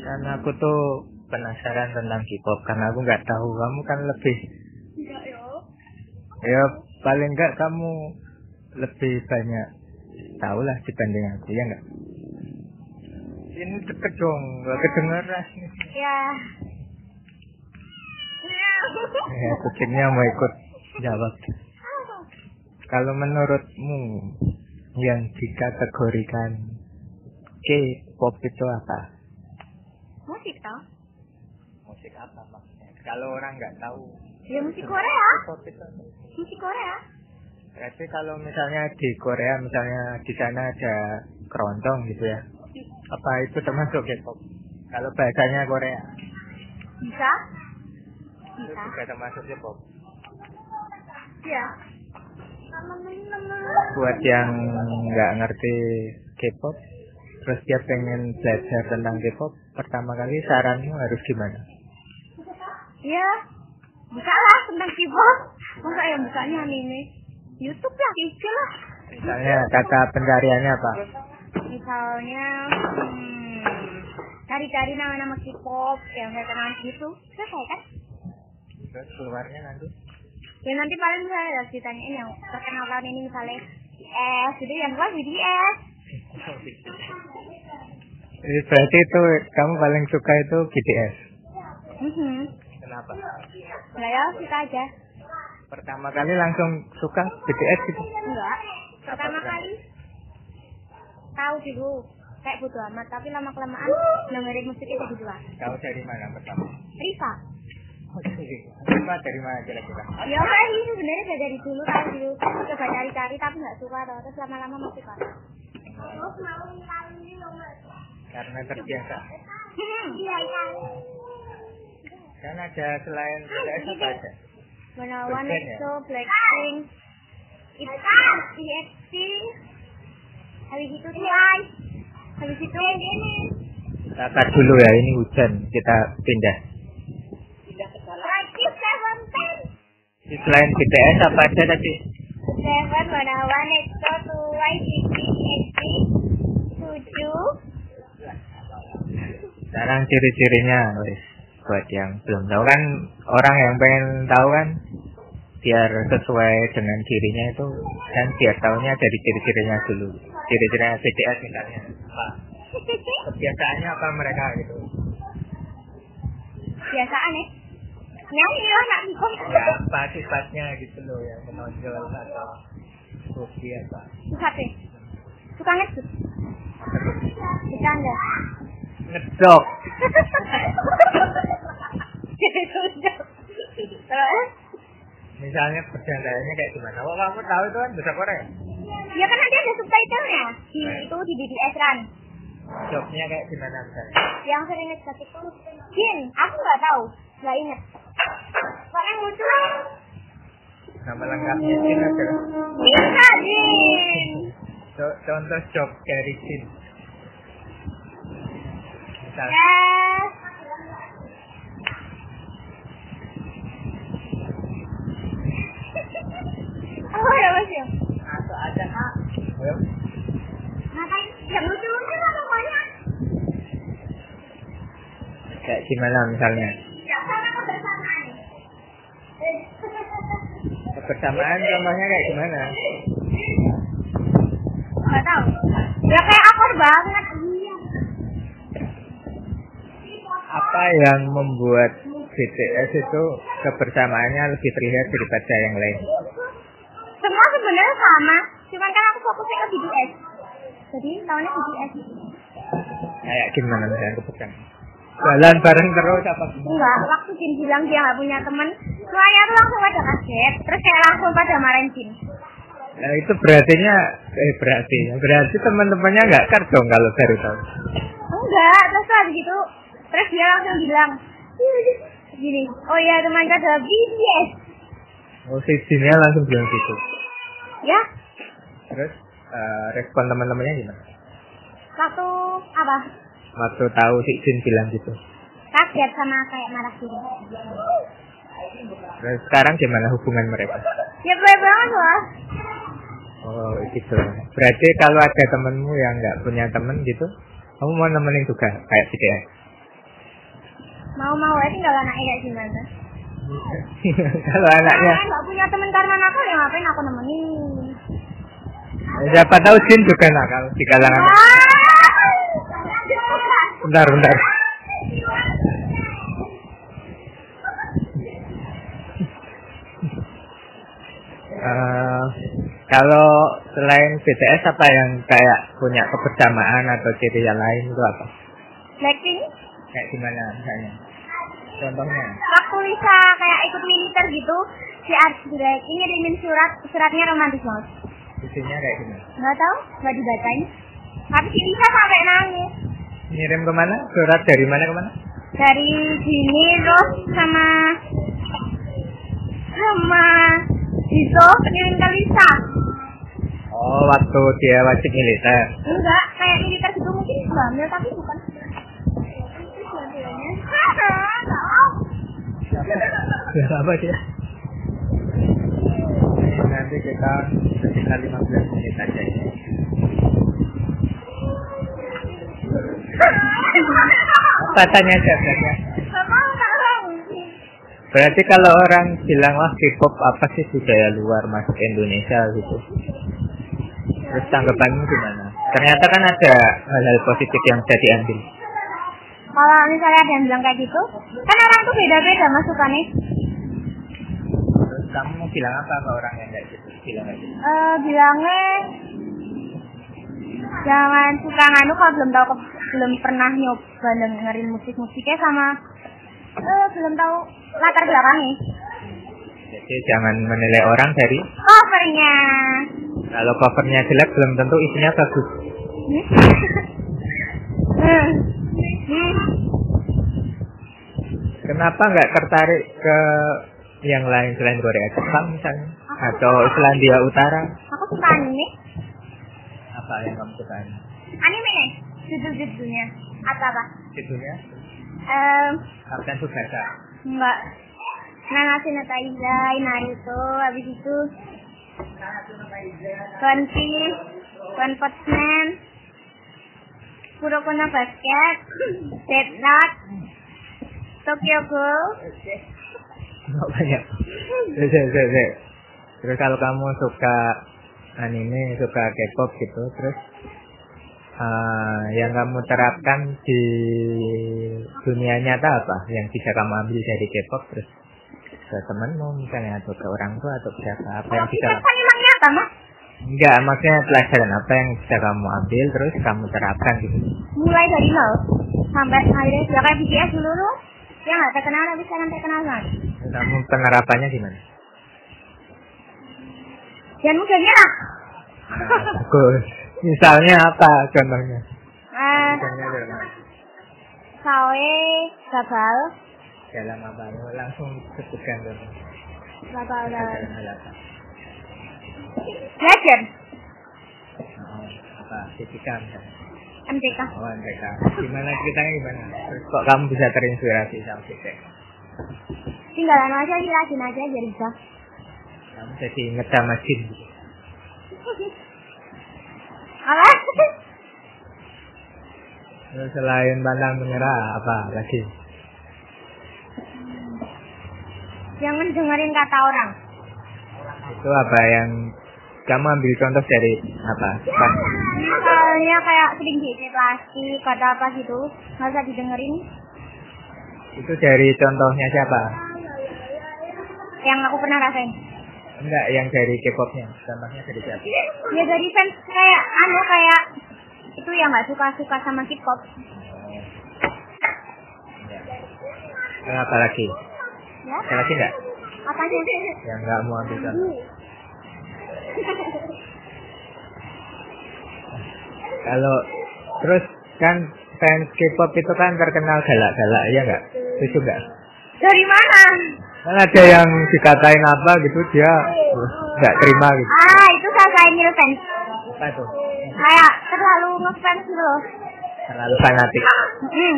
Karena aku tuh penasaran tentang K-pop karena aku nggak tahu kamu kan lebih Enggak yo. ya paling nggak kamu lebih banyak tahu lah dibanding aku ya nggak? Ini deket dong, nggak kedengeran. Ya. Ya, kupingnya mau ikut jawab. Kalau menurutmu yang dikategorikan K-pop itu apa? Musik tau? Musik apa maksudnya? Kalau orang nggak tahu. Ya musik Korea. K-pop itu apa? Musik Korea. Berarti kalau misalnya di Korea, misalnya di sana ada keroncong gitu ya. Apa itu termasuk K-pop? Kalau bahasanya Korea, Bisa? itu Bisa. juga termasuk K-pop. Ya. Buat yang nggak ngerti K-pop, terus dia pengen belajar tentang K-pop, pertama kali saranmu harus gimana? Ya. Bisa lah tentang keyboard. Masa yang busanya anime? YouTube lah, IG lah. Misalnya kata pencariannya apa? Misalnya, hmm, cari-cari nama-nama K-pop yang saya kenal gitu. Selesai kan? Terus keluarnya nanti? Ya nanti paling saya harus ditanyain yang terkenal tahun ini misalnya BTS, jadi yang keluar BTS. Eh, Berarti itu kamu paling suka itu BTS. Mhm. Kenapa? Nah ya suka aja. Pertama kali langsung suka BTS gitu. Enggak. Pertama Apa kali tahu dulu kayak bodo amat, tapi lama kelamaan dengerin musik itu gitu, berdua. Tahu dari mana pertama? Rifa. Lima dari mana kira-kira? Ya kayak ini sebenarnya udah dari dulu tahu dulu coba cari-cari tapi nggak suka tau. terus lama-lama masuk kan. Oh, Karena terbiasa. Iya iya. Kan ada selain BTS apa aja? Mana One Blackpink ya? EXO, Blackpink, EXO, EXT, habis itu Twice, habis itu ini. Kita cut dulu ya, ini hujan. Kita pindah. Twice Seventeen. Selain BTS apa aja tadi? Seven, mana One EXO, Twice, EXT, tujuh. Sekarang ciri-cirinya, wes. Buat yang belum tahu kan, orang yang pengen tahu kan, biar sesuai dengan dirinya itu kan biar tahunya dari ciri-cirinya dulu ciri-cirinya BTS misalnya apa kebiasaannya apa mereka gitu Biasaan ya. Nyanyi lah nak bingung. ya apa sifatnya gitu loh yang menonjol atau hoki apa Suka apa? Suka ngedut. Bercanda. ngedok Terus? misalnya perjandaannya kayak gimana oh kamu tahu itu kan bahasa Korea Ya kan nanti ada subtitlenya di itu di BTS Run jobnya kayak gimana misalnya yang sering ngecat itu Jin aku nggak tahu nggak inget soalnya lucu kan? nama lengkapnya Jin adalah bisa Jin co- contoh job dari Jin misalnya yes Oh, ya mas ya. atau ada Ayo. Ngapain? Yang lucu-lucu lah pokoknya. kayak gimana misalnya Sama kebersamaan. Eh. kebersamaan contohnya kayak gimana Nggak tahu. Ya kayak akur banget. Iya. apa yang membuat BTS itu kebersamaannya lebih terlihat daripada yang lain Semua sebenarnya sama, cuman kan aku fokusnya ke BTS. Jadi tahunnya BTS. kayak gimana misalnya kebersamaan jalan bareng terus apa gimana Enggak, waktu Jin bilang dia nggak punya temen, semuanya tuh langsung pada kaget, terus kayak langsung pada marahin Jin. Nah, itu berartinya eh berarti berarti teman-temannya nggak kar dong kalau baru tahu Enggak, terus tuh habis itu, terus dia langsung bilang, "Iya, gini, oh iya teman kita adalah BTS. oh si Jinnya langsung bilang gitu Ya, terus eh, respon teman-temannya gimana? Waktu apa? Waktu tahu si Jun bilang gitu. Kaget sama kayak marah gitu. Terus sekarang gimana hubungan mereka? Ya baik banget lah. Oh gitu. Berarti kalau ada temenmu yang nggak punya temen gitu, kamu mau nemenin juga kayak si Dea? Mau-mau aja tinggal anaknya kayak gimana. kalau anaknya, Anaknya nggak punya teman karena nakal ya ngapain aku nemenin. siapa tahu Jun juga nakal di kalangan. Ah, Wah. Bentar, bentar. Eh, kalau selain BTS apa yang kayak punya kebersamaan atau ciri yang lain itu apa? Blackpink Kayak gimana misalnya? Contohnya? waktu Lisa kayak ikut militer gitu si Archie Black ini ngirimin surat suratnya romantis banget Isinya kayak gimana? nggak tahu nggak dibacain tapi si Lisa sampai nangis Ngirim kemana? Surat dari mana kemana? dari sini terus sama sama Jiso pengirim ke Lisa Oh, waktu dia wajib militer. enggak kayak militer gitu mungkin hamil tapi bukan Ya apa dia? Nanti kita sekitar 15 menit aja ya. Apa tanya jawabannya? Bapak nggak tahu. Berarti kalau orang bilang wah K-pop apa sih budaya luar masuk Indonesia gitu. Terus tanggapanmu gimana? Ternyata kan ada hal-hal positif yang bisa diambil. kalau misalnya ada yang bilang kayak gitu kan orang tuh beda-beda masukannya Terus kamu mau bilang apa ke orang yang kayak gitu? Bilang kayak gitu. Eh bilangnya jangan suka nganu kalau belum tahu ke- belum pernah nyoba dengerin musik-musiknya sama eh belum tahu latar belakangnya Jadi jangan menilai orang dari Oh, covernya kalau covernya jelek belum tentu isinya bagus. Hmm? Hmm. Hmm. Kenapa nggak tertarik ke yang lain selain Korea Jepang misalnya atau Islandia Utara? aku suka anime Apa yang kamu sukai? anime nih judul-judulnya atau apa Judulnya Em, Kapten Tsubasa. Enggak. Nanase no Taizai, Naruto, habis itu One Piece, One Punch Man, Kuroko no Basket, Death Note, Tokyo Ghoul, Nggak banyak. Terus, terus, terus, terus. Terus kalau kamu suka anime, suka K-pop gitu, terus eh, yang kamu terapkan di dunia nyata apa? Yang bisa kamu ambil dari K-pop terus ke temanmu misalnya atau ke orang tua atau ke siapa apa yang Kalau bisa kita kan emang nyata, Mas? enggak maksudnya pelajaran apa yang bisa kamu ambil terus kamu terapkan gitu Mulai dari nol sampai akhirnya sudah kayak BTS dulu tuh, ya nggak terkenal tapi sekarang terkenal kan. banget. kamu penerapannya gimana Dan mudah nyerah. Ah, bagus misalnya apa contohnya Eh, misalnya dalam sawe, gabal, dalam apa ya langsung sebutkan dong gabal, gabal. Pelajaran hal apa Belajar Oh, apa fisika misalnya MTK. oh mereka gimana ceritanya gimana terus kok kamu bisa terinspirasi sama fisika tinggalan anu aja jelasin aja biar bisa kamu jadi inget sama jin gitu. apa terus selain pandang menyerah apa lagi jangan dengerin kata orang itu apa yang kamu ambil contoh dari apa pas misalnya kayak sering diisi plastik kata apa gitu nggak usah didengerin itu dari contohnya siapa yang aku pernah rasain enggak yang dari K-popnya contohnya dari siapa Oh. ya dari fans kayak anu kayak itu yang nggak suka suka sama K-pop Eh, apa lagi ya ada lagi enggak apa sih yang enggak Ya, mau ambil contoh kalau terus kan fans K-pop itu kan terkenal galak-galak ya enggak setuju enggak dari mana kan ada yang dikatain apa gitu dia "Wah, enggak terima gitu ah itu kakak Emil fans Apa tuh? Kayak terlalu ngefans gitu loh. Terlalu fanatik. Hmm.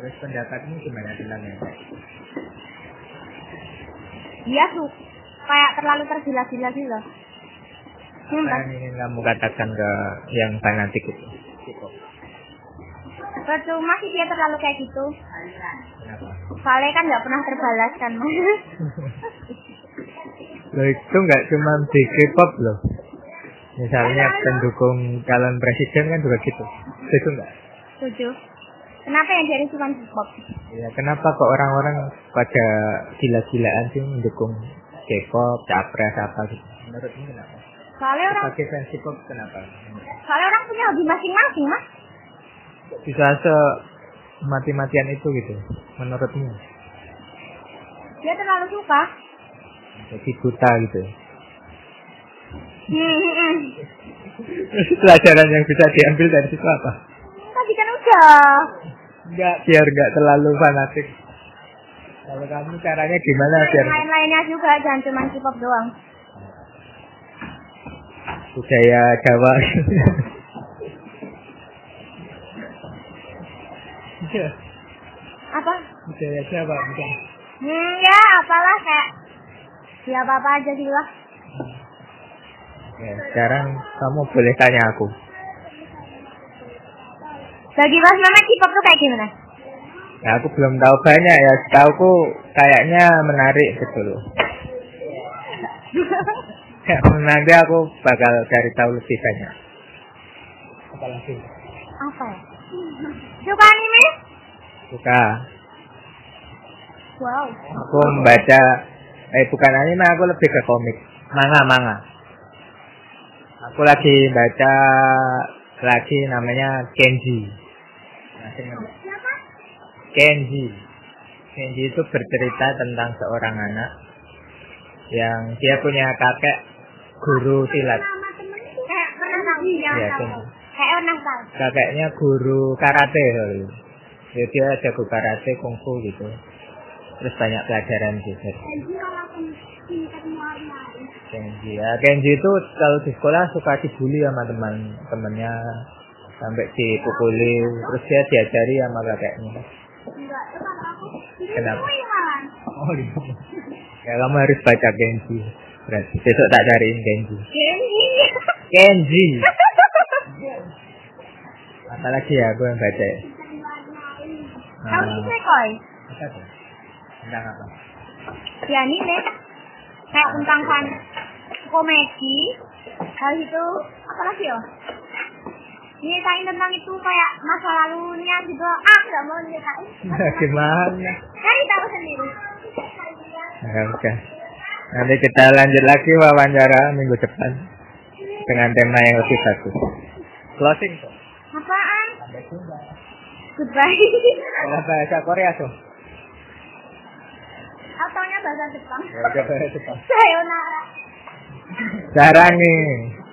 Terus pendapatmu gimana tentangnya? Dia iya tuh kayak terlalu tergila-gila gitu loh. Hmm, Apa yang ingin kamu katakan ke yang fanatik itu? percuma sih dia terlalu kayak gitu. Kenapa? Soalnya kan nggak pernah terbalaskan mas. Loh itu nggak cuma di K-pop loh. Misalnya pendukung calon presiden kan juga gitu. Itu nggak? Setuju. Kenapa yang jadi cuma K-pop? Ya kenapa kok orang-orang pada gila-gilaan sih mendukung K-pop, capres apa gitu? Menurutmu kenapa? Soalnya orang, Sebagai fans K-pop kenapa? soalnya orang punya hobi masing-masing mas. Bisa se mati-matian itu gitu menurutmu Dia terlalu suka. jadi buta gitu Hmm, hmm, hmm. Terus pelajaran yang bisa diambil dari situ apa Tadi kan udah. enggak biar enggak terlalu fanatik kalau kamu caranya gimana biar Lain-lainnya juga jangan cuma K-pop doang. budaya Jawa Iya, Apa? budaya Jawa bukan Hmm, ya apalah kayak ya apa-apa aja gitu lah. ya, sekarang kamu boleh tanya aku Bagi Mas Mamat K-pop tuh kayak gimana? ya aku belum tahu banyak ya setauku kayaknya menarik gitu loh Ya, nanti aku bakal cari tahu lebih banyak. Apalagi apa ya? Suka anime? suka. Wow. Aku membaca eh bukan anime, aku lebih ke komik. Manga, manga. Aku lagi baca lagi namanya Kenji. Masih ingat? Siapa? Kenji. Kenji itu bercerita tentang seorang anak yang dia punya kakek guru silat. Nama temenku. Kayak Eh, pernah tahu dia Iya, tahu. temen. Kayak pernah tahu. kakeknya guru karate kali. Jadi dia jago karate kungfu gitu. Terus banyak pelajaran gitu. juga. Jadi kalau aku minta warna Kenji ya, Kenji itu kalau di sekolah suka dibully sama teman-temannya sampai dipukuli. Terus dia diajari sama kakeknya. Enggak, itu kalau aku Kenapa? Ini malah. Oh iya. Ya kamu harus baca Kenji. Berarti besok tak cariin Kenji. Kenji. Iya. Kenji. Apalagi ya aku yang baca. ya? Tahu Ah. ini koi. Apa tuh? Tentang apa? Ya ini nih. Kayak tentang kan komedi. Habis itu apa lagi ya? Nyeritain tentang itu kayak masa lalunya gitu. Ah, nggak mau nyeritain. Gimana? Cari tahu sendiri. Ya, udah. Nanti kita lanjut lagi wawancara minggu depan dengan tema yang lebih bagus. Closing tuh. Apaan? Sampai jumpa. Goodbye. Kalau bahasa Korea tuh. Ataunya bahasa Jepang. Ya, udah bahasa Jepang. Sayonara. Sekarang nih.